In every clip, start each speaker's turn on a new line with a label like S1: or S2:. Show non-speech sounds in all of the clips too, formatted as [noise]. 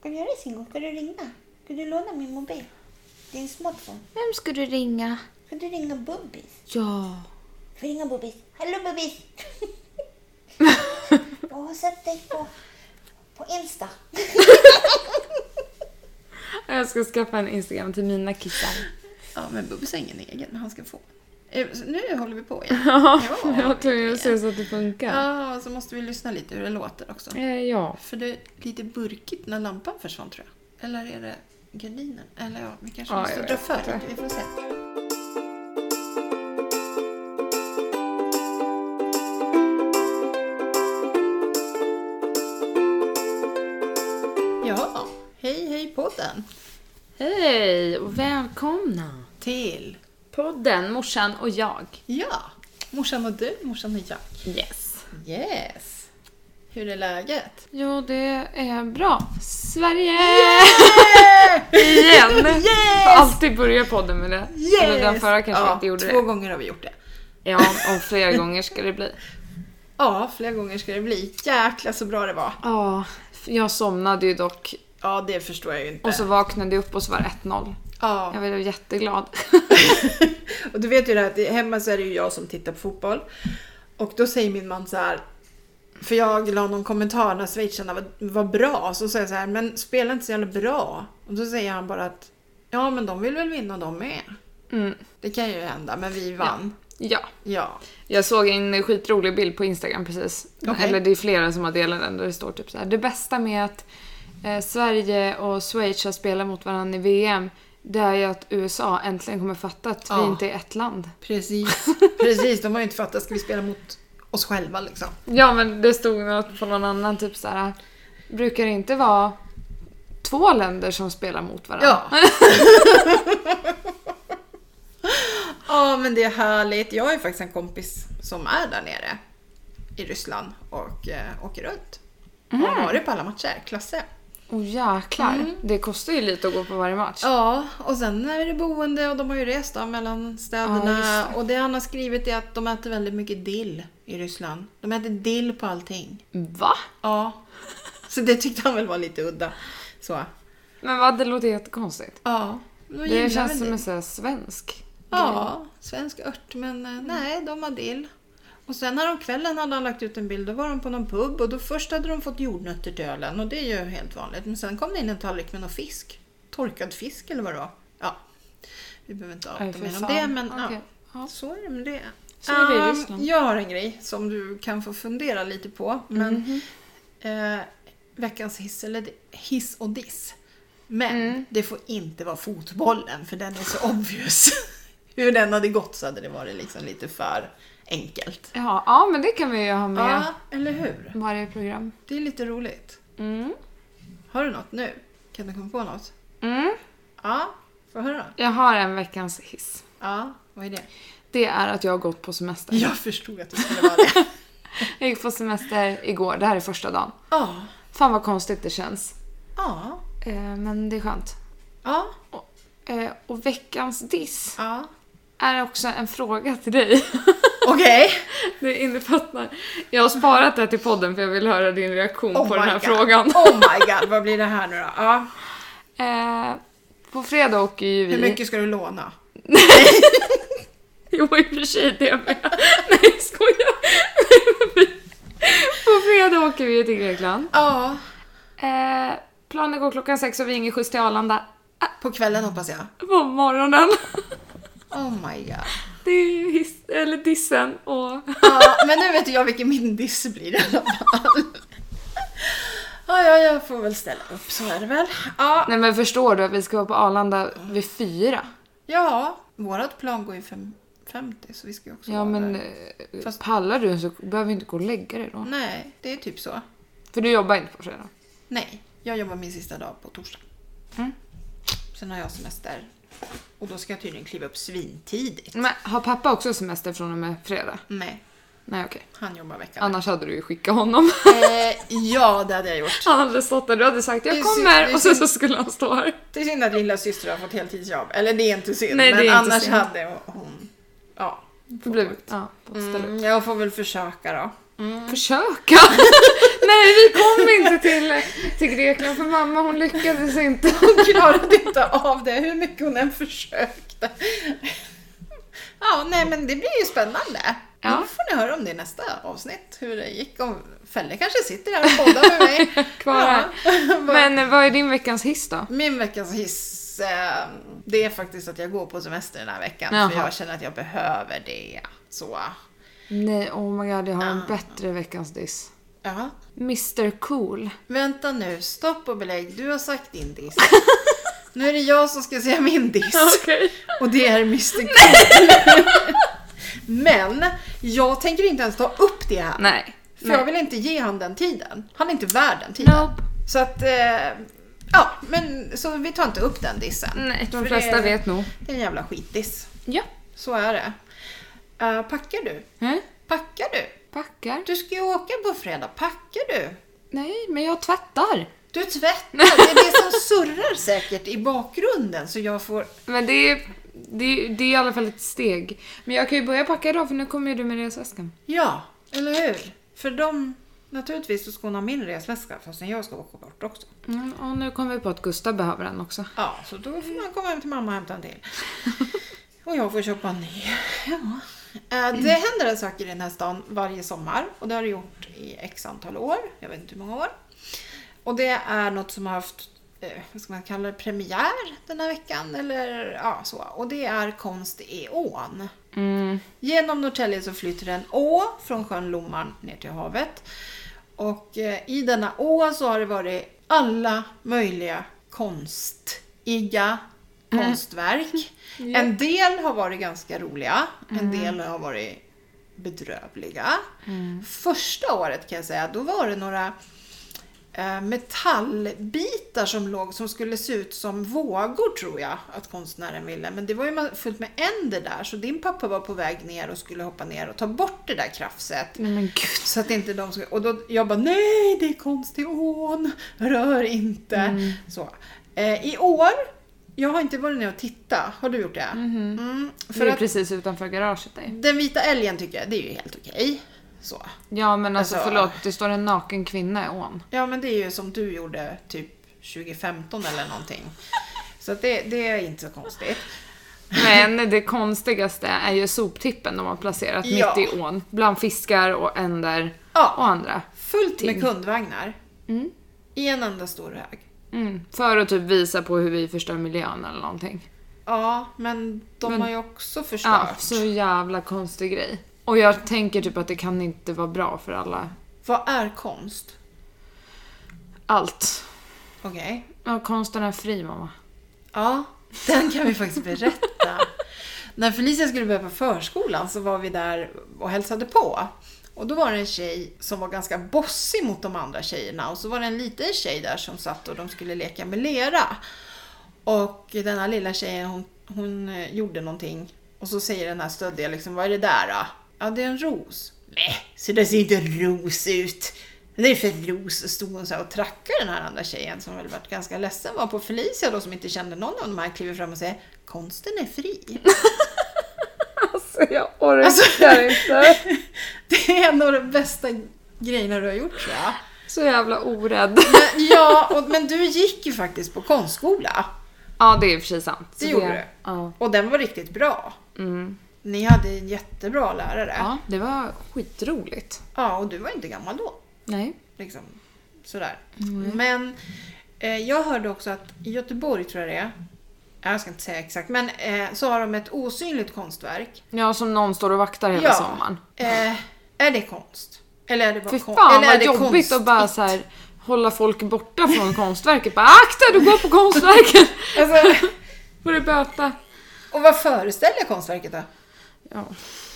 S1: Ska du göra det Singo? Ska du ringa? Ska du låna min mobil? Din smartphone?
S2: Vem ska du ringa?
S1: Ska du ringa Bubbis?
S2: Ja.
S1: Ska du ringa Bubbis? Hallå Bubbis! [laughs] Jag har sett dig på, på Insta.
S2: Jag ska skaffa en Instagram till mina kissar.
S3: Ja, men Bubbis har ingen egen, men han ska få. Eh, så Nu håller vi på [laughs] igen.
S2: [laughs] Ja,
S3: Ja,
S2: jag tror jag ser så att det funkar.
S3: Ja, och så måste vi lyssna lite hur det låter också.
S2: Eh, Ja.
S3: För det är lite burkigt när lampan försvann tror jag. Eller är det gardinen? Eller ja, vi kanske
S2: Ja,
S3: måste
S2: jag
S3: dra
S2: vet
S3: för
S2: inte.
S3: lite. Vi får se. Ja, hej hej podden!
S2: Hej och välkomna!
S3: Till,
S2: Podden Morsan och jag.
S3: ja, morsan och du, morsan och jag.
S2: Yes.
S3: Yes! Hur är läget?
S2: Jo, det är bra. Sverige! Igen!
S3: Yes!
S2: Får alltid börja podden med det. Eller den förra kanske
S3: ja,
S2: inte gjorde
S3: två
S2: det.
S3: gånger har vi gjort det.
S2: Ja, och flera gånger ska det bli.
S3: Ja, flera gånger ska det bli. Jäkla så bra det var.
S2: Ja, jag somnade ju dock.
S3: Ja, det förstår jag ju inte.
S2: Och så vaknade jag upp och så var det 1-0. Jag
S3: ja.
S2: blev jätteglad.
S3: [laughs]
S2: [laughs]
S3: och du vet ju det här, att hemma så är det ju jag som tittar på fotboll. Och då säger min man så här. För jag la någon kommentar när schweizarna var, var bra. Så säger jag så här, men spela inte så jävla bra. Och då säger han bara att, ja men de vill väl vinna de med.
S2: Mm.
S3: Det kan ju hända, men vi vann.
S2: Ja.
S3: Ja.
S2: Jag såg en skitrolig bild på Instagram precis.
S3: Okej.
S2: Eller det är flera som har delat den där det står typ så här. Det bästa med att eh, Sverige och Schweiz har spelat mot varandra i VM det är ju att USA äntligen kommer fatta att vi
S3: Ja.
S2: inte är ett land.
S3: [laughs] Precis. Precis, de har ju inte fattat. Ska vi spela mot oss själva liksom?
S2: Ja men det stod något på någon annan typ så här. Brukar det inte vara två länder som spelar mot varandra?
S3: Ja. [laughs] ja, men det är härligt. Jag har ju faktiskt en kompis som är där nere i Ryssland och eh, åker runt. Mm. Har varit på alla matcher, klasse.
S2: Och jäklar, det kostar ju lite att gå på varje match.
S3: Ja, och sen är det boende och de har ju rest då, mellan
S2: Ja,
S3: städerna.
S2: just
S3: och det han har skrivit är att de äter väldigt mycket dill i Ryssland. De äter dill på allting.
S2: Va?
S3: Ja, så det tyckte han väl var lite udda. Så,
S2: Men vad, det låter jättekonstigt.
S3: ja. de gillar
S2: Det känns
S3: väl
S2: som
S3: dill.
S2: en sån här svensk
S3: Ja, svensk ört, men eh, nej, de har dill. Och sen häromkvällen hade han lagt ut en bild, då var de på någon pub och då först hade de fått jordnötter till ölen och det är ju helt vanligt. Men sen kom det in en tallrik med någon fisk. Torkad fisk eller vad det var. Ja, vi behöver inte
S2: Nej,
S3: avta
S2: för
S3: mer om
S2: fan.
S3: det, men
S2: Okej.
S3: ja.
S2: Ja.
S3: Så är det med det.
S2: Så är det i
S3: Ehm,
S2: Ryssland.
S3: jag har en grej som du kan få fundera lite på. Men,
S2: Mhm.
S3: eh, veckans hiss, eller hiss och diss. Men det får inte vara fotbollen för den är så obvious. [laughs] Hur den hade gått så hade det varit liksom lite för enkelt.
S2: Ja, ja men det kan vi ju ha med
S3: Ja, eller hur?
S2: varje program.
S3: Det är lite roligt.
S2: Mm.
S3: Har du något nu? Kan du komma på något?
S2: Mm.
S3: Ja, får jag höra.
S2: Jag har en veckans hiss.
S3: Ja, vad är det?
S2: Det är att jag har gått på semester.
S3: [laughs] Jag förstod att det skulle vara det.
S2: Jag gick på semester igår, det här är första dagen.
S3: [laughs] Ja,
S2: Fan vad konstigt det känns.
S3: ja,
S2: Eh, men det är skönt.
S3: ja,
S2: Eh, och veckans diss
S3: ja.
S2: är också en fråga till
S3: [laughs]
S2: dig.
S3: Okej.
S2: [laughs] Det innefattar... Jag har sparat det här till podden för jag vill höra din reaktion
S3: Oh
S2: på den
S3: my
S2: här
S3: God.
S2: frågan.
S3: Oh my god, vad blir det här nu då? Ja.
S2: Eh, på fredag åker ju vi...
S3: Oh. Hur mycket ska du låna?
S2: [laughs] Jo, i och för sig det med. [laughs] Nej, jag skojar. På fredag åker vi till Grekland.
S3: Ja,
S2: Eh, planen går klockan sex och vi ringer skjuts till Arlanda
S3: på kvällen hoppas jag.
S2: på morgonen. [laughs]
S3: Oh my god.
S2: Det är ju hiss, eller dissen och...
S3: Ja, men nu vet jag vilken min diss blir i alla fall. Ja, ja, jag får väl ställa upp, så är det väl. Ja,
S2: Nej men förstår du att vi ska vara på Arlanda vid fyra?
S3: ja. vårat plan går ju fem- 50 så vi ska ju också
S2: Ja
S3: vara
S2: men
S3: där.
S2: eh,
S3: Fast-
S2: pallar du så behöver vi inte gå och lägga dig då.
S3: Nej, det är typ så.
S2: För du jobbar inte på fredag.
S3: Nej, jag jobbar min sista dag på torsdag.
S2: Mm.
S3: Sen har jag semester. Och då ska jag tydligen kliva upp svintidigt.
S2: Men har pappa också semester från och med fredag?
S3: Nej,
S2: Nej okej.
S3: han jobbar veckan.
S2: Annars hade du ju skickat honom. [laughs]
S3: Eh, ja, det hade jag gjort.
S2: Han hade stått där, du hade sagt
S3: Det är
S2: jag
S3: synd- det är
S2: kommer och sen
S3: synd.
S2: så skulle han stå här.
S3: Det är synd att lilla syster har fått heltidsjobb. Eller det är inte synd,
S2: Nej, det
S3: men
S2: är inte
S3: annars
S2: synd.
S3: hade hon... Ja.
S2: Blivit. Ja, på stället.
S3: Mm, jag får väl försöka då.
S2: Försöka? [laughs] Nej, vi kom inte till, till Grekland för mamma hon lyckades [laughs] inte.
S3: Hon klarade inte av det hur mycket hon än försökte. Ja, nej men det blir ju spännande.
S2: Ja.
S3: Då får ni höra om det i nästa avsnitt, hur det gick. Om Felle kanske sitter här och poddar med mig.
S2: Kvar här.
S3: Ja.
S2: Men eh, vad är din veckans hiss då?
S3: Min veckans hiss, eh, det är faktiskt att jag går på semester den här veckan. För
S2: Jaha.
S3: jag känner att jag behöver det. Så,
S2: Nej, oh my god, jag har en bättre veckans diss.
S3: ja.
S2: Mr Cool.
S3: Vänta nu, stopp och belägg. Du har sagt
S2: [laughs]
S3: din diss. nu är det jag som ska säga min diss.
S2: Okej.
S3: Och det är Mr Cool. [laughs] Men jag tänker inte ens ta upp det här.
S2: Nej.
S3: För
S2: Nej.
S3: jag vill inte ge han den tiden. Han är inte värd den tiden.
S2: Nope.
S3: Så att, eh, ja, men så vi tar inte upp den dissen.
S2: Nej,
S3: För
S2: de flesta
S3: det,
S2: vet nog.
S3: Det är en jävla skitdiss.
S2: Ja.
S3: Så är det. Eh, packar du?
S2: Mm.
S3: Packar du?
S2: Packar.
S3: Du ska ju åka på fredag. Packar du?
S2: Nej, men jag tvättar.
S3: Du tvättar. Det är det som surrar säkert i bakgrunden så jag får...
S2: Men det är, det, är, det är i alla fall ett steg. Men jag kan ju börja packa idag för nu kommer ju du med resväskan.
S3: Ja, eller hur? För de... Naturligtvis så ska hon ha min resväska fastän jag ska åka bort också.
S2: Mm, och nu kom vi på att Gustav behöver den också.
S3: Ja, så då får man komma hem till mamma och hämta en till. Och jag får köpa en ny. Ja. Eh, Det händer en saker i den här stan varje sommar och det har det gjort i x antal år. Jag vet inte hur många år. Och det är något som har haft, eh, vad ska man kalla det, premiär den här veckan eller ja, så. Och det är Konst i ån.
S2: Mm.
S3: Genom Norrtälje så flyter en å från sjön Lomman ner till havet. Och eh, i denna å så har det varit alla möjliga konstiga konstverk. En del har varit ganska roliga, en del har varit bedrövliga. Första året kan jag säga, då var det några eh, metallbitar som låg som skulle se ut som vågor tror jag att konstnären ville. Men det var ju ma- fullt med änder där så din pappa var på väg ner och skulle hoppa ner och ta bort det där krafset.
S2: Nej men gud.
S3: Så att inte de ska... Och då, jag bara nej det är konst i ån, rör inte.
S2: Mm.
S3: Så. Eh, I år, jag har inte varit nere och tittat, har du gjort det? Mm,
S2: För
S3: för
S2: Mhm. det är
S3: att
S2: precis utanför garaget där. ju.
S3: den vita älgen tycker jag, det är ju helt okej. Så.
S2: Ja men alltså,
S3: Alltså-
S2: förlåt, det står en naken kvinna i [laughs] ån.
S3: Ja men det är ju som du gjorde typ 2015
S2: [laughs]
S3: eller någonting. Så att det, det är inte så konstigt.
S2: Men det konstigaste är ju soptippen de har placerat
S3: Ja.
S2: mitt i ån. Bland fiskar och änder
S3: Ja.
S2: och andra.
S3: Fullt
S2: Ting.
S3: med kundvagnar. I en enda stor hög.
S2: Mm. För att typ visa på hur vi förstör miljön eller någonting.
S3: Ja, men de
S2: Men-
S3: har ju också
S2: Ja,
S3: förstört.
S2: så jävla konstig grej. Och jag tänker typ att det kan inte vara bra för alla.
S3: Vad är konst?
S2: Allt.
S3: Okej.
S2: Ja, konsten är fri mamma.
S3: Ja, den kan vi faktiskt berätta. När Felicia skulle börja på förskolan så var vi där och hälsade på. Och då var det en tjej som var ganska bossig mot de andra tjejerna och så var det en liten tjej där som satt och de skulle leka med lera. Och den här lilla tjejen hon, hon eh, gjorde någonting och så säger den här stöddiga liksom, vad är det där då? Ja, det är en ros. Nej, så det ser inte en ros ut. Det är för en ros. Och stod hon så här och trackade den här andra tjejen som väl varit ganska ledsen var på Felicia då som inte kände någon av de här kliver fram och säger konsten är fri. [laughs]
S2: Alltså jag orkar
S3: Alltså-
S2: inte.
S3: det är en av de bästa grejerna du har gjort tror jag.
S2: [laughs] Så jävla orädd.
S3: Men, ja, och, men du gick ju faktiskt på konstskola.
S2: Ja, det är i och för sig sant. Så
S3: Det gjorde du.
S2: Ja.
S3: Och den var riktigt bra.
S2: Mm.
S3: Ni hade en jättebra lärare.
S2: ja, det var skitroligt.
S3: Ja, och du var inte gammal då.
S2: Nej.
S3: Liksom, sådär.
S2: Mm.
S3: Men eh, jag hörde också att i Göteborg, tror jag det är, jag ska inte säga exakt, men eh, så har de ett osynligt konstverk.
S2: Ja, som någon står och vaktar hela
S3: Ja.
S2: sommaren.
S3: Eh, är det konst? Eller är det bara
S2: Fy
S3: kon-
S2: fan
S3: eller är
S2: vad
S3: det
S2: jobbigt
S3: konst-
S2: att bara så här hålla folk borta från [laughs] konstverket. Bara akta du går på konstverket! [laughs]
S3: Alltså,
S2: Får du böta.
S3: och vad föreställer konstverket då?
S2: Ja,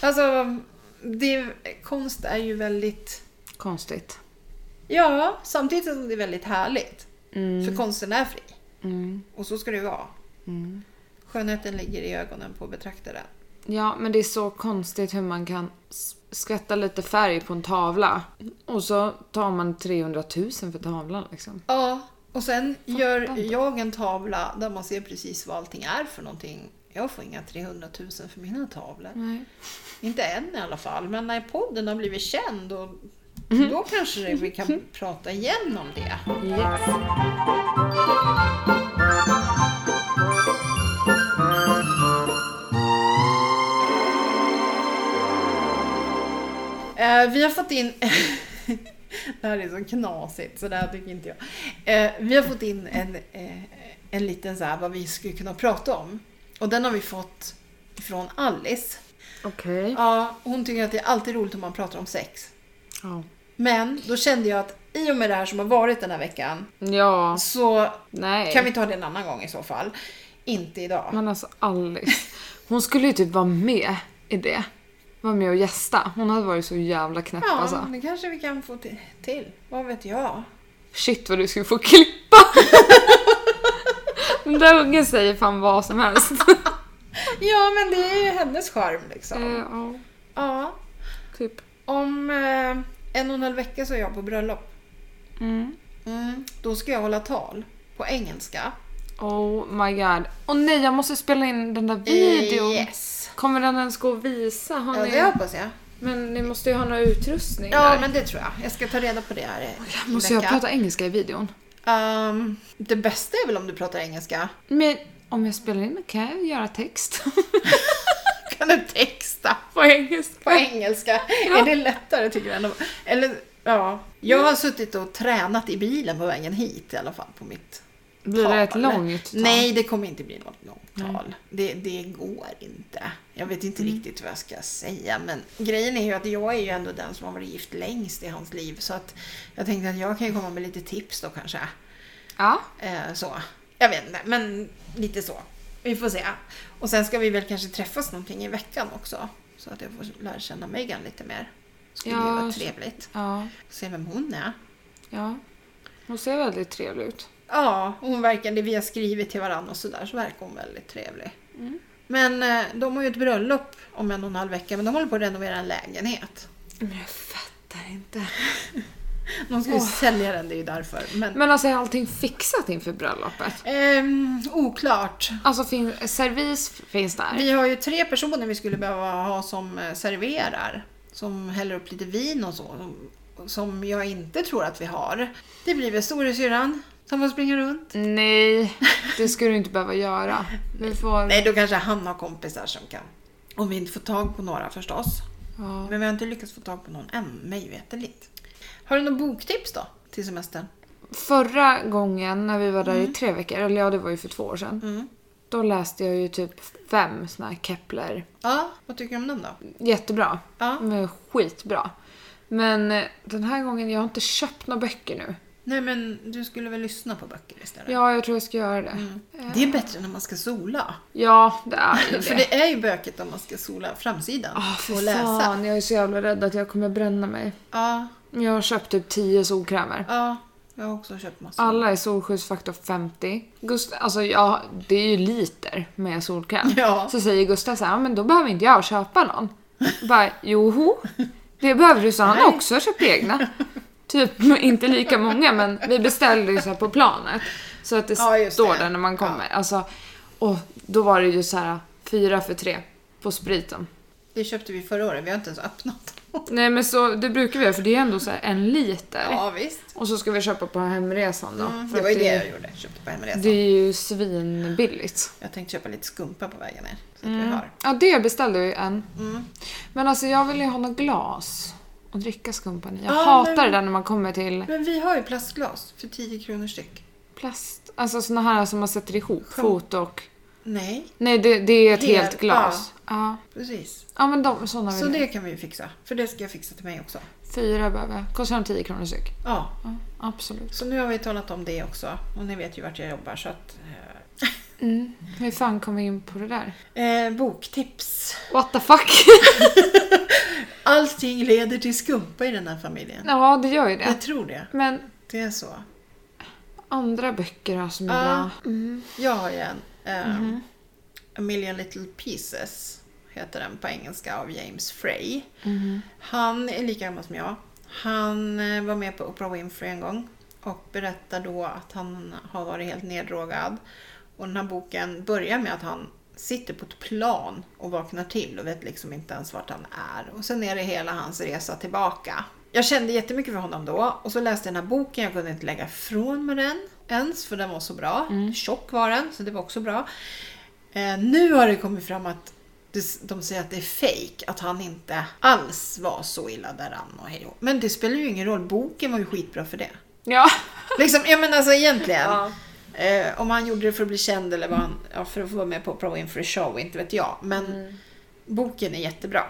S3: Alltså, det, konst är ju väldigt...
S2: konstigt.
S3: Ja, samtidigt som det är väldigt härligt. För konsten är fri.
S2: Mm.
S3: Och så ska det ju vara. Skönheten ligger i ögonen på betraktaren.
S2: Ja, men det är så konstigt hur man kan s- skvätta lite färg på en tavla och så tar man 300 000 för tavlan liksom.
S3: Ja, och sen gör
S2: inte.
S3: jag en tavla där man ser precis vad allting är för någonting. Jag får inga 300 000 för mina tavlor.
S2: Nej.
S3: Inte än i alla fall, men när podden har blivit känd och då kanske det- vi kan prata igen om det.
S2: Yes.
S3: Eh, vi har fått in... [laughs] det här är så knasigt, så det här tycker inte jag. Eh, vi har fått in en, eh, en liten så här, vad vi skulle kunna prata om. Och den har vi fått från Alice.
S2: Okej.
S3: Ja, hon tycker att det är alltid roligt om man pratar om sex.
S2: Ja.
S3: Men då kände jag att i och med det här som har varit den här veckan
S2: Ja.
S3: så
S2: Nej.
S3: kan vi ta det en annan gång i så fall. Inte idag.
S2: Men alltså Alice. Hon skulle ju typ vara med i det. Vara med och gästa. Hon hade varit så jävla knäpp
S3: Ja,
S2: alltså.
S3: det kanske vi kan få ti- till. Vad vet jag?
S2: Shit vad du skulle få klippa! Den där ungen säger fan vad som
S3: [laughs]
S2: helst.
S3: Ja, men det är ju hennes charm liksom.
S2: Eh, ja,
S3: Ja,
S2: typ.
S3: om eh, en och en halv vecka så är jag på bröllop.
S2: Mm.
S3: Då ska jag hålla tal på engelska.
S2: Oh my god. Och nej, jag måste spela in den där videon.
S3: Eh, Yes.
S2: Kommer den ens gå att visa? Har
S3: Ja,
S2: ni...
S3: det hoppas jag.
S2: Men ni måste ju ha någon utrustning
S3: Ja,
S2: där.
S3: men det tror jag. Jag ska ta reda på det här i i
S2: Måste jag prata engelska i videon?
S3: Ehm, det bästa är väl om du pratar engelska. [laughs]
S2: Men om jag spelar in kan jag göra text
S3: Kan du texta
S2: på engelska.
S3: på engelska? Är det lättare tycker du? Än att, eller, ja. Jag har suttit och tränat i bilen på vägen hit i alla fall på mitt
S2: Blir
S3: tal.
S2: det ett långt tal?
S3: Nej, det kommer inte bli något långt tal. Det, det går inte. Jag vet inte
S2: Mm.
S3: riktigt vad jag ska säga, men grejen är ju att jag är ju ändå den som har varit gift längst i hans liv, så att jag tänkte att jag kan ju komma med lite tips då kanske.
S2: Ja.
S3: Eh, så. Jag vet inte, men lite så. Vi får se. Och sen ska vi väl kanske träffas någonting i veckan också, så att jag får lära känna Megan lite mer. Skulle
S2: Ja,
S3: ju vara
S2: så-
S3: trevligt.
S2: Ja.
S3: Se vem hon är.
S2: Ja. Hon ser väldigt trevlig ut.
S3: Ja, hon verkar, det vi har skrivit till varandra och sådär, så verkar hon väldigt trevlig. Men eh, de har ju ett bröllop om en och en halv vecka, men de håller på att renovera en lägenhet.
S2: Men jag fattar inte.
S3: De ska ju sälja den, det är ju därför. Men,
S2: Men alltså är allting fixat inför bröllopet?
S3: Ehm, oklart.
S2: Alltså fin- servis finns där?
S3: Vi har ju tre personer vi skulle behöva ha som eh, serverar. Som häller upp lite vin och så. som- Som jag inte tror att vi har. Det blir väl storasyrran som får springa runt.
S2: Nej, det skulle du inte behöva göra. Vi får...
S3: Nej, då kanske han har kompisar som kan. Om vi inte får tag på några förstås.
S2: Ja.
S3: Men vi har inte lyckats få tag på någon än, mig veterligt. Har du något boktips då till semestern?
S2: Förra gången när vi var där i tre veckor, eller ja det var ju för två år sedan. Då läste jag ju typ fem såna här Kepler.
S3: Ja, vad tycker du om den då?
S2: Jättebra.
S3: Ja.
S2: Men skitbra. Men eh, den här gången, jag har inte köpt några böcker nu.
S3: Nej men du skulle väl lyssna på böcker istället?
S2: Ja, jag tror jag ska göra det.
S3: Det är bättre när man ska sola.
S2: Ja, det är ju
S3: [laughs] För
S2: det.
S3: det är ju bökigt om man ska sola framsidan
S2: Ah,
S3: och
S2: för
S3: läsa.
S2: fan, jag är så jävla rädd att jag kommer bränna mig.
S3: Ja,
S2: Jag har köpt typ 10 solkrämer.
S3: ja, jag har också köpt massor.
S2: Alla är solskyddsfaktor 50. Gust- alltså, ja, det är ju liter med solkräm.
S3: Ja.
S2: Så säger Gustav så här, "Ja, men då behöver inte jag köpa någon. Bara, joho, det behöver du, så han har också köpt egna. Typ [laughs] inte lika många, men vi beställde ju så här på planet. Så att det
S3: Ja, just
S2: står
S3: det.
S2: där när man kommer. Alltså, och då var det ju så här fyra för tre på spriten.
S3: Det köpte vi förra året, vi har inte ens öppnat.
S2: Nej men så, det brukar vi göra för det är ändå så här en liter.
S3: Ja, visst.
S2: Och så ska vi köpa på hemresan då.
S3: Mm,
S2: för
S3: det var
S2: att
S3: ju det jag gjorde, köpte på hemresan.
S2: Det är ju svinbilligt.
S3: Jag tänkte köpa lite skumpa på vägen ner. Så att vi har.
S2: Ja, det beställde jag ju en.
S3: Mm.
S2: Men alltså jag vill ju ha något glas och dricka skumpan i. Jag
S3: Ja,
S2: hatar
S3: men-
S2: det där när man kommer till
S3: Men vi har ju plastglas för 10 kronor styck.
S2: plast. Alltså såna här som man sätter ihop. Fot och...
S3: Nej,
S2: Nej, det, det är ett helt,
S3: Helt,
S2: glas. Ja.
S3: precis.
S2: Ja, men de, såna vill
S3: Så
S2: jag.
S3: det kan vi ju fixa. För det ska jag fixa till mig också.
S2: Fyra behöver jag. Kostar de 10 kronor styck?
S3: Ja,
S2: Ja, absolut.
S3: så nu har vi talat om det också. Och ni vet ju vart jag jobbar så att... eh,
S2: Mm. Hur fan kom vi in på det där?
S3: Eh, boktips.
S2: What the fuck? [laughs]
S3: Allting leder till skumpa i den här familjen.
S2: ja, det gör ju det.
S3: Jag tror det.
S2: Men
S3: Det är så.
S2: andra böcker alltså, då som är
S3: Ja.
S2: bra.
S3: Jag har ju en... ehm,
S2: Mm-hmm.
S3: A Million Little Pieces heter den på engelska av James Frey. Han är lika gammal som jag. Han eh, var med på Oprah Winfrey en gång och berättar då att han har varit helt neddrogad. Och den här boken börjar med att han sitter på ett plan och vaknar till och vet liksom inte ens vart han är. Och sen är det hela hans resa tillbaka. Jag kände jättemycket för honom då och så läste jag den här boken, jag kunde inte lägga ifrån mig den ens för den var så bra. Tjock var den, så det var också bra. Eh, nu har det kommit fram att det- de säger att det är fejk, att han inte alls var så illa däran och hej då. Men det spelar ju ingen roll, boken var ju skitbra för det.
S2: Ja.
S3: Liksom, ja men alltså egentligen.
S2: Ja.
S3: Eh, om han gjorde det för att bli känd eller vad han, ja, för att få vara med på Pro Winfrey Show, inte vet jag. Men boken är jättebra.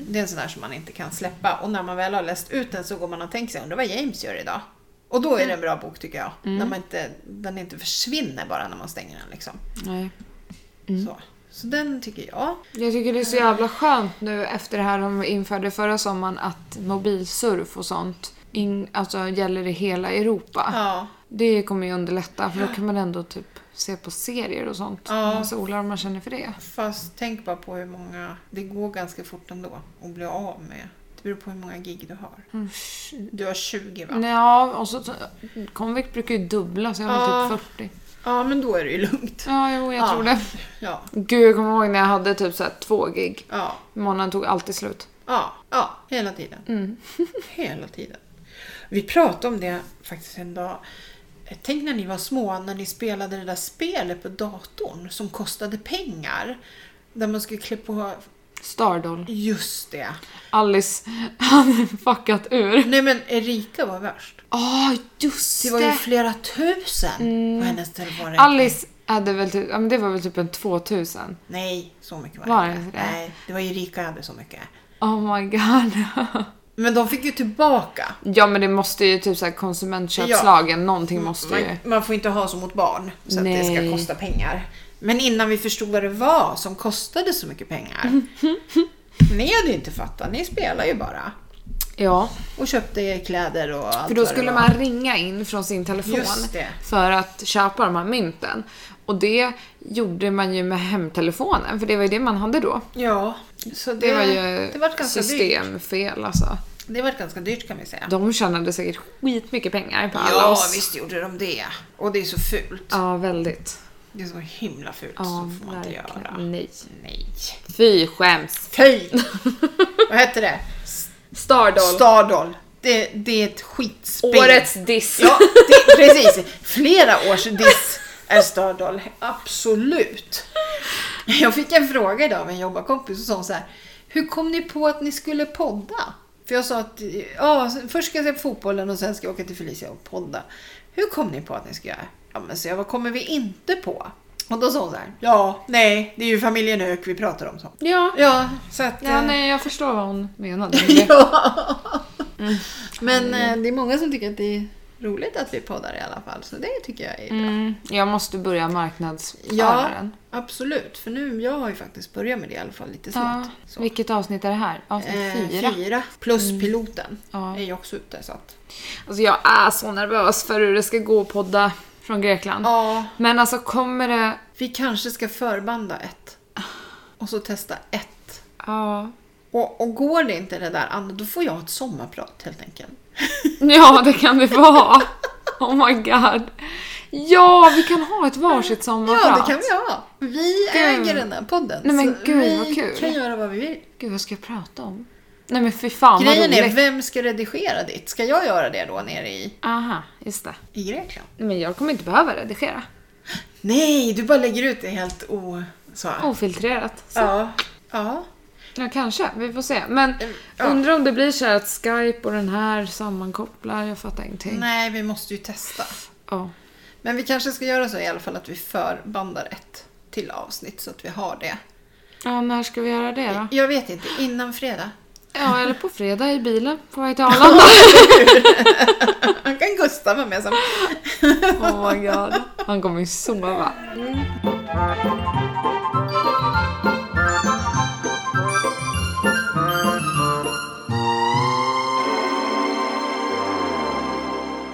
S3: Det är en sån där som man inte kan släppa. Och när man väl har läst ut den så går man och tänker sig, undrar vad James gör idag? Och då är det en bra bok tycker jag. När man inte, den inte försvinner bara när man stänger den liksom.
S2: Nej.
S3: Så. så den tycker jag.
S2: Jag tycker det är så jävla skönt nu efter det här de införde förra sommaren att mobilsurf och sånt in, alltså, gäller i hela Europa.
S3: Ja.
S2: Det kommer ju underlätta för då kan man ändå typ se på serier och sånt.
S3: Ja.
S2: Man solar om man känner för det.
S3: Fast tänk bara på hur många, det går ganska fort ändå att bli av med. Det beror på hur många gig du har. Du har 20 va?
S2: Mm. Ja, och så Convict brukar ju dubbla så jag har
S3: Ja.
S2: typ 40.
S3: Ja men då är det ju lugnt.
S2: Ja, jo, jag
S3: Ja.
S2: tror det.
S3: Ja,
S2: Gud, jag kommer ihåg när jag hade typ så här två gig.
S3: ja,
S2: Månaden tog alltid slut.
S3: ja, ja hela tiden. [laughs] hela tiden. Vi pratade om det faktiskt en dag. Tänk när ni var små, när ni spelade det där spelet på datorn som kostade pengar. Där man skulle klä på...
S2: Stardoll.
S3: Just det.
S2: Alice [laughs] hade fuckat ur.
S3: Nej men Erika var värst.
S2: Ah, just
S3: Det
S2: det! Mm.
S3: var ju flera tusen på hennes telefon.
S2: Alice hade väl typ, ja, men det var väl typ en 2000.
S3: Nej, så mycket var,
S2: Var
S3: det
S2: det
S3: inte.
S2: inte det?
S3: Nej, det var Erika hade så mycket.
S2: Oh my god.
S3: Men de fick ju tillbaka.
S2: Ja men det måste ju typ såhär konsumentköpslagen, någonting
S3: Mm,
S2: måste ju.
S3: Man, man får inte ha så mot barn så att det ska
S2: Nej.
S3: kosta pengar. Men innan vi förstod vad det var som kostade så
S2: [laughs]
S3: mycket pengar. ni hade ju inte fattat, ni spelar ju bara.
S2: Ja,
S3: Och köpte kläder och allt
S2: för då
S3: vad det
S2: skulle
S3: var.
S2: man ringa in från sin telefon
S3: Just det.
S2: för att köpa de här mynten. Och det gjorde man ju med hemtelefonen, för det var ju det man hade då.
S3: Ja, så det,
S2: Det var ju
S3: det var ganska dyrt.
S2: systemfel alltså.
S3: Det var ganska dyrt kan vi säga.
S2: De tjänade säkert skitmycket pengar på alla
S3: Ja,
S2: oss.
S3: visst gjorde de det. Och det är så fult.
S2: Ja, väldigt.
S3: Det är så himla fult.
S2: Ja,
S3: så får man inte göra.
S2: verkligen. Nej.
S3: Nej.
S2: Fy skäms. [laughs]
S3: Fy! vad hette det?
S2: Stardoll.
S3: Stardoll. Det, det är ett skitspel.
S2: Årets diss.
S3: Ja, det, precis. Flera års diss är Stardoll. Absolut. Jag fick en fråga idag av en jobbarkompis som sa så här. Hur kom ni på att ni skulle podda? För jag sa att ja, först ska jag se på fotbollen och sen ska jag åka till Felicia och podda. Hur kom ni på att ni ska göra? Ja, men så jag, vad kommer vi inte på? Och då sa hon så här. Ja, nej, det är ju familjen Ök vi pratar om. Så.
S2: [laughs] Ja.
S3: Ja, så att...
S2: Ja,
S3: eh,
S2: nej, jag förstår vad hon menade.
S3: [laughs] ja. Mm. Men eh, det är många som tycker att det är roligt att vi poddar i alla fall, så det tycker jag är bra.
S2: Mm, jag måste börja marknadsföra
S3: Ja,
S2: den.
S3: absolut. För nu, jag har ju faktiskt börjat med det i alla fall lite
S2: Ja.
S3: smått. Så.
S2: Vilket avsnitt är det här? Avsnitt
S3: Typ. Eh,
S2: fyra.
S3: fyra. Mm. Plus piloten
S2: Ja.
S3: är ju också ute. Så att,
S2: Alltså, jag är så nervös för hur det ska gå att podda från Grekland.
S3: ja,
S2: Men alltså kommer det...
S3: vi kanske ska förbanda ett. Och så testa ett.
S2: Ja.
S3: Och, och går det inte det där andra, då får jag ett sommarprat helt enkelt.
S2: Ja, det kan det
S3: [laughs]
S2: vara. Oh my god. Ja, vi kan ha ett varsitt sommarprat.
S3: [laughs] Ja, det kan vi ha. Vi äger den här podden.
S2: Nej, men
S3: så
S2: gud, vad
S3: vi
S2: kul.
S3: kan göra vad vi vill.
S2: Gud, vad ska jag prata om? Nej men fy fan
S3: Grejen
S2: vad
S3: är,
S2: roligt.
S3: vem ska redigera ditt? Ska jag göra det då nere i,
S2: Aha, just det.
S3: i Grekland?
S2: Men jag kommer inte behöva redigera.
S3: Nej, du bara lägger ut det helt o... Oh, Så.
S2: Ofiltrerat. Så.
S3: Ja. ja. Mm,
S2: Ja, kanske. Vi får se. Men
S3: ja.
S2: undrar om det blir så här att Skype och den här sammankopplar. Jag fattar ingenting.
S3: Nej, vi måste ju testa.
S2: Ja.
S3: Men vi kanske ska göra så i alla fall att vi förbandar ett till avsnitt så att vi har det.
S2: ja, när ska vi göra det då?
S3: Jag vet inte, innan fredag.
S2: Ja, eller på fredag i bilen på väg
S3: [laughs]
S2: till Arlanda.
S3: Han kan Gustav vara med som...
S2: Oh my god. Han kommer ju sova.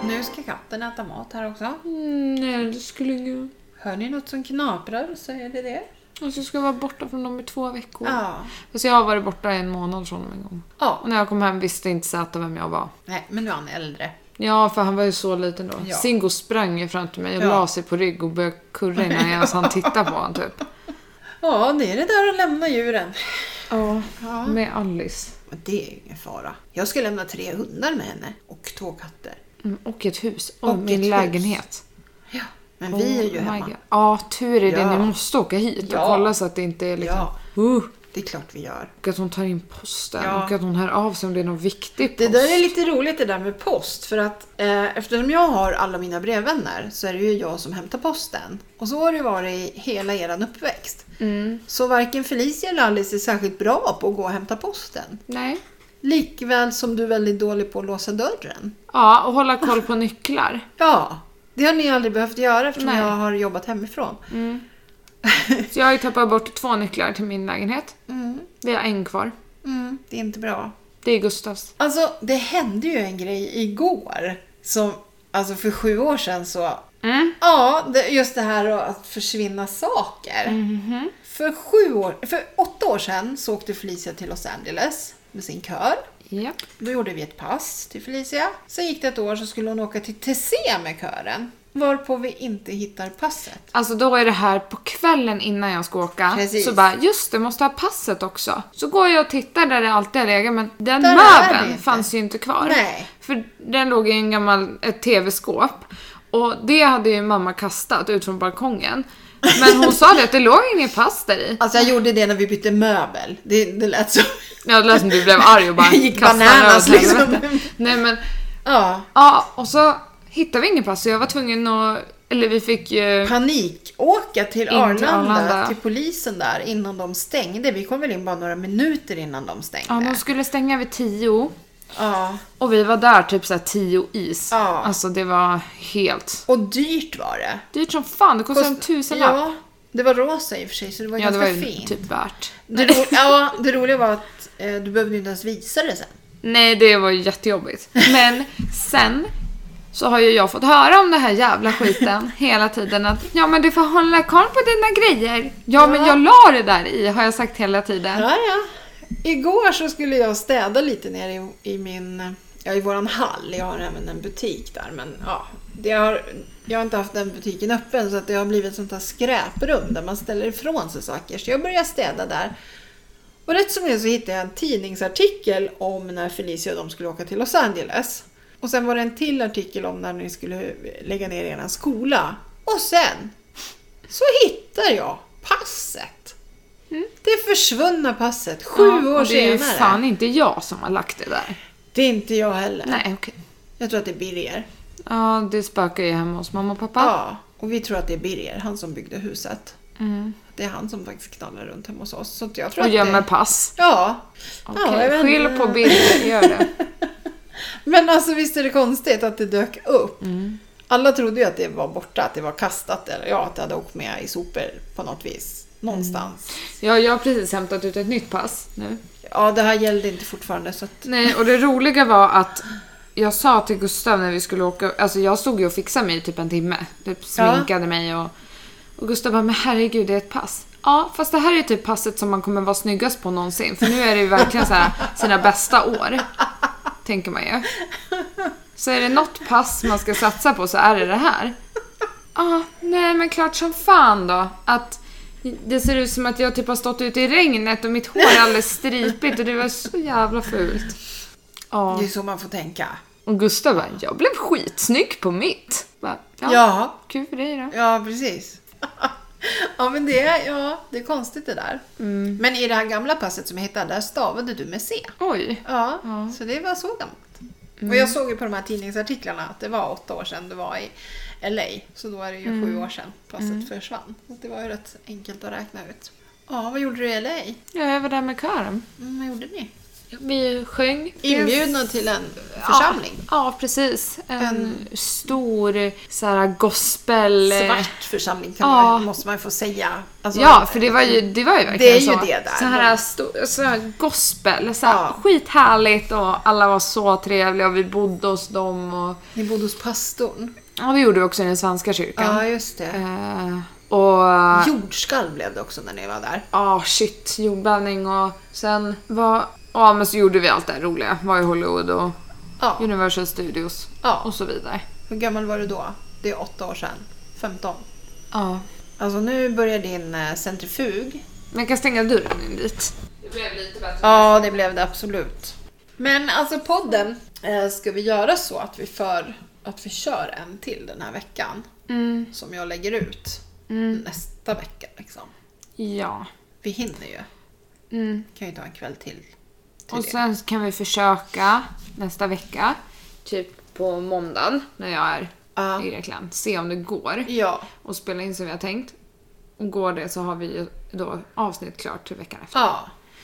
S3: Nu ska katten äta mat här också.
S2: Mm, nej, det skulle ju...
S3: Hör ni något som knaprar så är det det.
S2: Alltså, jag ska vara borta från dem i två veckor.
S3: Ja.
S2: Alltså, jag har varit borta i en månad från dem en gång.
S3: Ja.
S2: Och när jag kom hem visste inte Zäta vem jag var.
S3: Nej, men nu är han äldre.
S2: Ja, för han var ju så liten då.
S3: Ja.
S2: Singo sprang ju fram till mig och
S3: Ja.
S2: la sig på rygg och började kurra innan jag ens hann titta på honom typ.
S3: Ja, det är det där att lämna djuren.
S2: Ja,
S3: Ja.
S2: med Alice.
S3: Men det är ingen fara. Jag ska lämna tre hundar med henne och två katter.
S2: Mm, och ett hus. Och,
S3: Och ett
S2: min
S3: hus.
S2: lägenhet.
S3: Ja. Men vi är ju
S2: Oh my
S3: hemma.
S2: God. Ja, tur är det.
S3: Ja.
S2: Ni måste åka hit och
S3: Ja.
S2: kolla så att det inte är liksom... Uh,
S3: Det är klart vi gör.
S2: och att hon tar in posten
S3: Ja.
S2: och att hon hör av sig om det är någon viktig post.
S3: Det där är lite roligt det där med post för att eh, eftersom jag har alla mina brevvänner så är det ju jag som hämtar posten. Och så har det varit i hela eran uppväxt. Så varken Felicia eller Alice är särskilt bra på att gå och hämta posten.
S2: Nej.
S3: Likväl som du är väldigt dålig på att låsa dörren.
S2: Ja, och hålla koll på nycklar.
S3: Ja, det har ni aldrig behövt göra eftersom
S2: Nej.
S3: jag har jobbat hemifrån.
S2: Så jag har ju tappat bort två nycklar till min lägenhet.
S3: Mm,
S2: Vi har en kvar.
S3: [laughs] mm, det är inte bra.
S2: Det är Gustavs.
S3: Alltså, det hände ju en grej igår. Som, alltså för sju år sedan så...
S2: Mm.
S3: Ja, det, just det här att försvinna saker. För sju år... För åtta år sedan så åkte Felicia till Los Angeles med sin kör.
S2: Ja.
S3: Då gjorde vi ett pass till Felicia. Sen gick det ett år så skulle hon åka till Tessé med kören. Varpå vi inte hittar passet.
S2: Alltså då är det här på kvällen innan jag ska åka.
S3: Precis.
S2: Så bara, just det, måste ha passet också. Så går jag och tittar där det alltid har legat men den
S3: Där är det
S2: möbeln
S3: inte.
S2: fanns ju inte kvar.
S3: Nej.
S2: För den låg i en gammal, ett tv-skåp. Och det hade ju mamma kastat ut från balkongen. Men hon sa det att det låg inget pass där i.
S3: Alltså jag gjorde det när vi bytte möbel. Det, det lät så... [laughs]
S2: Jag lät som du blev arg och bara
S3: Jag [laughs] gick
S2: kastade den
S3: bananas,
S2: över till helvete.
S3: liksom.
S2: Nej men,
S3: Ja,
S2: ja och så hittade vi inget pass så jag var tvungen att, eller vi fick ju...
S3: panik. Åka till
S2: till
S3: Arlanda, till
S2: Arlanda.
S3: polisen där innan de stängde. Vi kom väl in bara några minuter innan de stängde.
S2: Ja, de skulle stänga vid 10
S3: Ja.
S2: och vi var där typ såhär 10 is.
S3: Ja.
S2: Alltså det var helt...
S3: Och dyrt var det.
S2: Dyrt som fan, det kostade en tusenlapp.
S3: Ja, det var rosa i och för sig så det var
S2: Ja, det
S3: ganska
S2: var ju
S3: fint.
S2: typ värt.
S3: Det, ro- ja, det roliga var att eh, du behövde ju inte ens visa det sen.
S2: Nej, det var ju jättejobbigt. Men sen så har ju jag fått höra om den här jävla
S3: [laughs]
S2: skiten hela tiden att ja men du får hålla koll på dina grejer. Ja, men jag la det där i har jag sagt hela tiden.
S3: Ja, ja. Igår så skulle jag städa lite nere i, i min, ja i våran hall. Jag har även en butik där men ja. Det har, jag har inte haft den butiken öppen så att det har blivit sånt här skräprum där man ställer ifrån sig saker. Så jag började städa där. Och rätt som det är så hittade jag en tidningsartikel om när Felicia och de skulle åka till Los Angeles. Och sen var det en till artikel om när ni skulle lägga ner er skola. Och sen så hittar jag passet. Det försvunna passet, sju
S2: Mm. Ja,
S3: år
S2: och Det är ju
S3: senare.
S2: fan inte jag som har lagt det där.
S3: Det är inte jag heller.
S2: Nej okej.
S3: Jag tror att det är Birger.
S2: Ja, det spökar ju hemma hos mamma och pappa.
S3: Ja, och vi tror att det är Birger, han som byggde huset. Det är han som faktiskt knallar runt hemma hos oss. Så att jag tror
S2: Mm. Och
S3: att
S2: gömmer
S3: det...
S2: pass.
S3: Ja. ja,
S2: Okej,
S3: jag vet
S2: skyll
S3: inte.
S2: på bilder, gör det.
S3: Men alltså visst är det konstigt att det dök upp.
S2: Mm.
S3: Alla trodde ju att det var borta, att det var kastat eller ja, att det hade åkt med i sopor på något vis. Någonstans.
S2: Ja, jag har precis hämtat ut ett nytt pass nu.
S3: Ja, det här gällde inte fortfarande så att...
S2: Nej, och det roliga var att jag sa till Gustav när vi skulle åka, alltså jag stod ju och fixade mig i typ en timme. Typ sminkade mig och, och Gustav bara, men herregud det är ett pass. Ja, fast det här är typ passet som man kommer vara snyggast på någonsin. För nu är det ju verkligen så här, sina bästa år. Tänker man ju. Så är det något pass man ska satsa på så är det det här. Ah, nej men klart som fan då. Att det ser ut som att jag typ har stått ute i regnet och mitt hår är alldeles stripigt och det var så jävla fult. Ja.
S3: Det är så man får tänka.
S2: Och Gustav bara, jag blev skitsnygg på mitt. Bara, ja,
S3: Ja,
S2: Kul för dig då.
S3: ja precis. [laughs] ja, men det är, ja, det är konstigt det där. Men i det här gamla passet som jag hittade, där stavade du med C.
S2: Oj.
S3: Ja, så det var så gammalt. Och jag såg ju på de här tidningsartiklarna att det var åtta år sedan du var i LA. Så då är det ju sju år sedan passet försvann. Så det var ju rätt enkelt att räkna ut. Ja, vad gjorde du i LA?
S2: Ja, jag var där med kören.
S3: Mm, vad gjorde ni?
S2: Vi sjöng.
S3: Inbjudna till en församling.
S2: Ja, ja precis. En, stor så här, gospel...
S3: Svart församling kan
S2: Ja.
S3: man, måste man ju få säga. Alltså,
S2: Ja, för det var ju, det var ju verkligen
S3: Det är ju
S2: så.
S3: det där.
S2: Så här, sto- så här gospel, så här,
S3: Ja.
S2: skithärligt och alla var så trevliga och vi bodde hos dem och...
S3: Ni bodde hos pastorn.
S2: Ja, det gjorde vi också i den svenska kyrkan.
S3: Ja, just det.
S2: Eh, och...
S3: Ah. Jordskalv blev det också när ni var där.
S2: Ja, shit, jordbävning och sen var... Ja, men så gjorde vi allt det här roliga. Var i Hollywood och
S3: Ja.
S2: Universal Studios
S3: ja.
S2: och så vidare.
S3: Hur gammal var du då? Det är åtta år sedan. 15.
S2: Ja.
S3: Alltså nu börjar din eh, centrifug.
S2: Man kan stänga dörren in dit. Det blev lite bättre.
S3: Ja, det blev det absolut. Men alltså podden, eh, ska vi göra så att vi, för, att vi kör en till den här veckan?
S2: Mm,
S3: Som jag lägger ut
S2: mm,
S3: nästa vecka liksom.
S2: ja.
S3: Vi hinner ju.
S2: Mm.
S3: Kan ju ta en kväll till. till
S2: Och
S3: det.
S2: sen kan vi försöka nästa vecka, typ på måndagen när jag är
S3: Ja.
S2: i Grekland, se om det går
S3: Ja,
S2: och spela in som vi har tänkt. Och går det så har vi ju då avsnitt klart till veckan efter.
S3: ja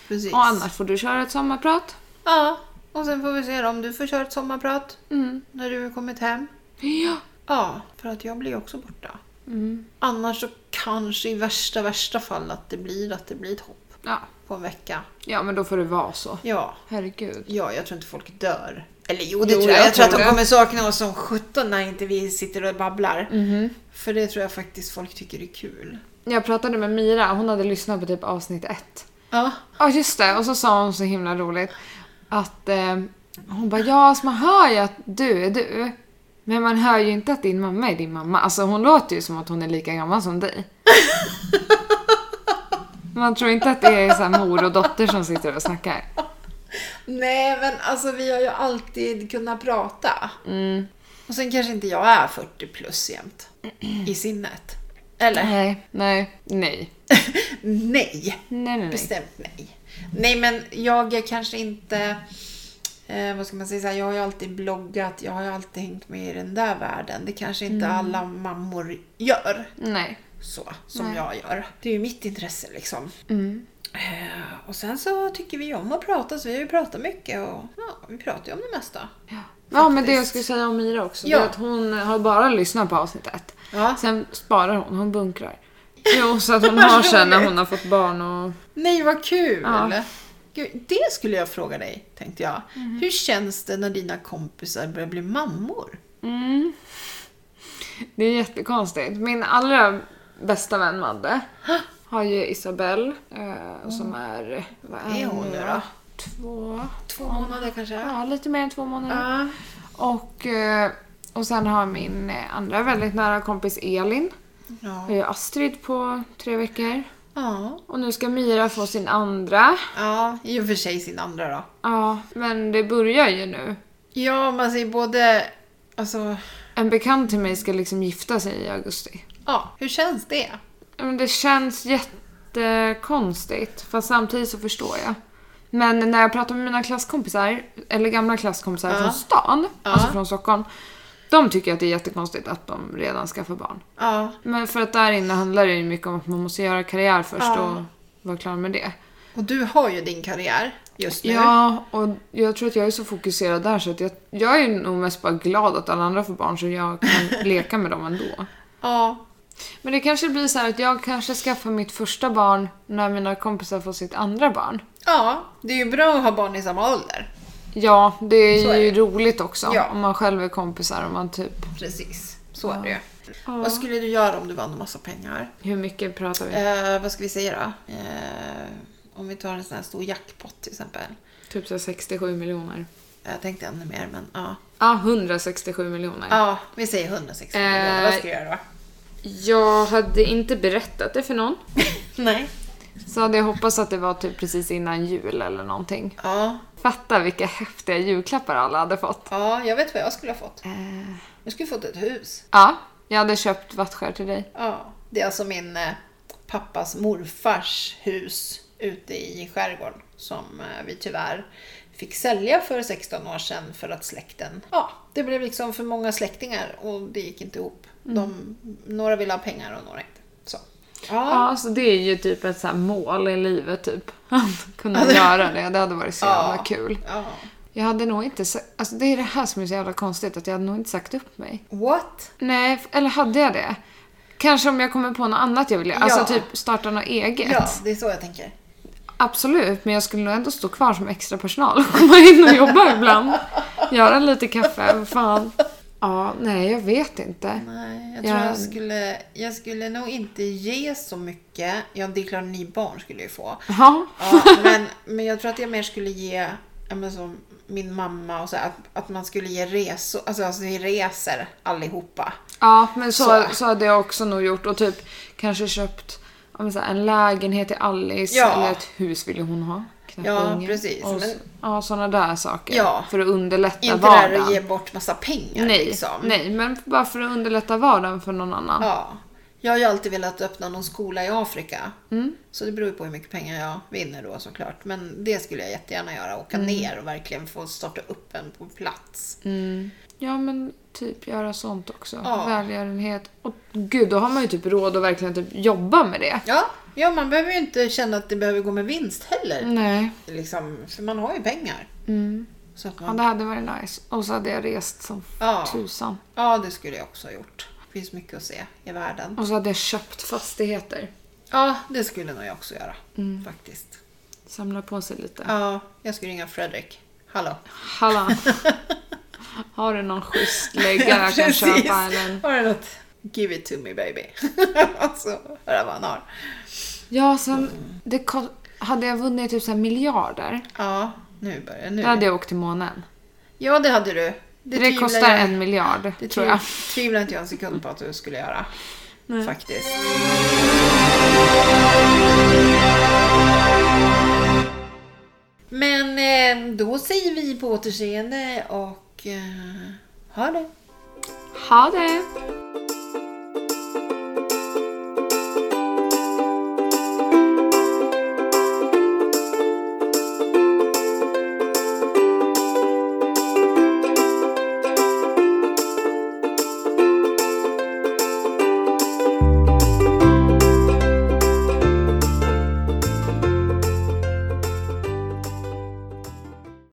S3: precis.
S2: Och annars får du köra ett sommarprat.
S3: Ja, och sen får vi se om du får köra ett sommarprat
S2: Mm.
S3: när du har kommit hem.
S2: Ja.
S3: Ja, för att jag blir ju också borta.
S2: Mm.
S3: Annars så kanske i värsta, värsta fall att det blir att det blir ett hopp
S2: ja.
S3: på en vecka.
S2: Ja, men då får det vara så.
S3: Ja,
S2: Herregud.
S3: ja jag tror inte folk dör. Eller jo, det
S2: Jo,
S3: tror jag. Jag,
S2: jag
S3: tror att
S2: tror
S3: de
S2: det.
S3: kommer sakna oss som sjutton när inte vi sitter och babblar.
S2: Mhm.
S3: För det tror jag faktiskt folk tycker är kul.
S2: Jag pratade med Mira, hon hade lyssnat på typ avsnitt ett.
S3: Ja,
S2: Ja just det, och så sa hon så himla roligt att eh, hon bara ja alltså man hör ju att du är du. Men man hör ju inte att din mamma är din mamma. Alltså hon låter ju som att hon är lika gammal som dig.
S3: [laughs]
S2: Man tror inte att det är så här mor och dotter som sitter och snackar.
S3: Nej, men alltså vi har ju alltid kunnat prata.
S2: Mm.
S3: Och sen kanske inte jag är 40 plus jämt. I sinnet. Eller?
S2: Nej, nej, nej.
S3: [laughs] Nej!
S2: Nej, nej, nej.
S3: Bestämt nej. Nej, men jag är kanske inte... Eh, vad ska man säga? så här, Jag har ju alltid bloggat, jag har ju alltid hängt med i den där världen. Det kanske inte
S2: Mm.
S3: alla mammor gör
S2: Nej.
S3: så som
S2: Nej.
S3: jag gör. Det är ju mitt intresse liksom.
S2: Mm.
S3: Eh, och sen så tycker vi ju om att prata, så vi har ju pratat mycket och ja, vi pratar ju om det mesta.
S2: Ja men det jag skulle säga om Mira också, det
S3: Ja.
S2: är att hon har bara lyssnat på avsnitt ett.
S3: Ja.
S2: Sen sparar hon, hon
S3: [laughs]
S2: bunkrar. Jo, så att hon har sen när hon har fått barn och...
S3: Nej, vad kul!
S2: Ja. Mm.
S3: Gud, det skulle jag fråga dig, tänkte jag. Hur känns det när dina kompisar börjar bli mammor?
S2: Mm. Det är jättekonstigt. Min allra bästa vän Madde har ju Isabelle eh, som är... Vad
S3: Mm. Är hon nu då?
S2: Två...
S3: Två månader kanske?
S2: Ja, lite mer än två månader.
S3: Ja.
S2: Och, eh, och sen har min eh, andra väldigt nära kompis Elin. Har
S3: Ja.
S2: ju Astrid på tre veckor.
S3: Ja.
S2: Och nu ska Mira få sin andra.
S3: ja, i och för sig sin andra då.
S2: Ja, men det börjar ju nu.
S3: Ja, man säger både... Alltså,
S2: En bekant till mig ska liksom gifta sig i augusti.
S3: ja, hur känns det?
S2: Ja, Men det känns jättekonstigt, fast samtidigt så förstår jag. Men när jag pratar med mina klasskompisar, eller gamla klasskompisar
S3: Ja.
S2: från stan,
S3: Ja.
S2: alltså från Stockholm, de tycker att det är jättekonstigt att de redan skaffar barn.
S3: Ja,
S2: Men för att där inne handlar det ju mycket om att man måste göra karriär först
S3: Ja.
S2: och vara klar med det.
S3: och du har ju din karriär just nu.
S2: Ja, och jag tror att jag är så fokuserad där så att jag, jag är nog mest bara glad att alla andra får barn så jag
S3: [laughs]
S2: kan leka med dem ändå.
S3: ja.
S2: Men det kanske blir så här att jag kanske skaffar mitt första barn när mina kompisar får sitt andra barn.
S3: Ja, det är ju bra att ha barn i samma ålder.
S2: Ja, det är,
S3: Så är
S2: ju
S3: det.
S2: roligt också
S3: Ja.
S2: om man själv är kompisar och man typ...
S3: Precis, så är det ju. Vad skulle du göra om du vann en massa pengar?
S2: Hur mycket pratar vi?
S3: Eh, vad ska vi säga då? Eh, om vi tar en sån här stor jackpot till exempel.
S2: Typ så här 67 miljoner.
S3: Jag tänkte ännu mer men ja.
S2: Ja, 167 miljoner.
S3: Ja, vi säger 160
S2: Eh.
S3: miljoner. Vad ska jag göra då? [laughs]
S2: Jag hade inte berättat det för någon.
S3: Nej.
S2: Så hade jag hoppats att det var typ precis innan jul eller någonting.
S3: Ja,
S2: Fatta vilka häftiga julklappar alla hade fått.
S3: ja, jag vet vad jag skulle ha fått.
S2: Eh,
S3: Jag skulle ha fått ett hus.
S2: ja, jag hade köpt vattskär till dig.
S3: Ja, det är alltså min eh, pappas morfars hus ute i skärgården som eh, vi tyvärr fick sälja för 16 år sedan för att släkten, ja, det blev liksom för många släktingar och det gick inte ihop. De, några ville ha pengar och några inte. Så. Ja,
S2: Ja, så det är ju typ ett så här mål i livet typ. [laughs] Alltså- Att kunna göra det, det hade varit så jävla
S3: Ja.
S2: kul.
S3: ja.
S2: Jag hade nog inte sa- alltså det är det här som är så jävla konstigt, att jag hade nog inte sagt upp mig.
S3: What?
S2: Nej, f- eller hade jag det? Kanske om jag kommer på något annat jag vill göra, alltså
S3: Ja.
S2: typ starta något eget.
S3: Ja, det är så jag tänker.
S2: Absolut, men jag skulle nog ändå stå kvar som extra personal och [laughs] komma in och jobba ibland. Göra lite kaffe, vad fan. Ja, nej jag vet inte.
S3: Nej, jag tror
S2: Ja.
S3: jag skulle, jag skulle nog inte ge så mycket. Ja, det är klart [laughs] ni barn skulle ju få.
S2: Ja,
S3: Ja, men, men jag tror att jag mer skulle ge ja, men som min mamma och så här, att, att man skulle ge resor, alltså, alltså vi reser allihopa.
S2: Ja, men så,
S3: Så.
S2: så. hade jag också nog gjort och typ kanske köpt ja, men så här, en lägenhet till Alice
S3: Ja.
S2: eller ett hus ville hon ha. knappt
S3: Ja,
S2: ungen.
S3: precis,
S2: Och,
S3: men-
S2: Ja, sådana där saker.
S3: Ja.
S2: För att underlätta
S3: Inte det
S2: vardagen.
S3: där att ge bort massa pengar
S2: nej,
S3: liksom.
S2: nej, men bara för att underlätta vardagen för någon annan.
S3: Ja. Jag har ju alltid velat öppna någon skola i Afrika.
S2: Mm.
S3: Så det beror ju på hur mycket pengar jag vinner då såklart. Men det skulle jag jättegärna göra. Åka
S2: Mm.
S3: ner och verkligen få starta upp en på plats.
S2: Ja men typ göra sånt också.
S3: Ja.
S2: Välgörenhet. Och gud, då har man ju typ råd att verkligen typ jobba med det.
S3: Ja, ja, man behöver ju inte känna att det behöver gå med vinst heller.
S2: Nej,
S3: Liksom, för man har ju pengar.
S2: Mm.
S3: Så att
S2: ja,
S3: man,
S2: det hade varit nice. Och så hade jag rest som
S3: ja,
S2: tusan.
S3: ja, det skulle jag också ha gjort. Det finns mycket att se i världen.
S2: Och så hade jag köpt fastigheter.
S3: Ja, det skulle nog jag också göra.
S2: Mm.
S3: Faktiskt.
S2: Samla på sig lite.
S3: Ja, jag skulle ringa Fredrik. Hallå.
S2: [laughs] Hallå! Har du någon schysst lägga jag kan
S3: [laughs] precis.
S2: köpa? Eller... en-
S3: Har du något? Give it to me baby. [laughs] alltså, höra vad han har.
S2: Ja, sen det ko- hade jag vunnit typ så här miljarder,
S3: Ja, nu börjar nu.
S2: då hade jag åkt till månen.
S3: Ja, det hade du.
S2: Det,
S3: tvivlar
S2: kostar
S3: jag-
S2: en miljard,
S3: det
S2: tror jag.
S3: tviv- tvivlar inte jag en sekund på att du skulle göra. Faktiskt. Men eh, då säger vi på återseende och eh, ha det.
S2: Ha det!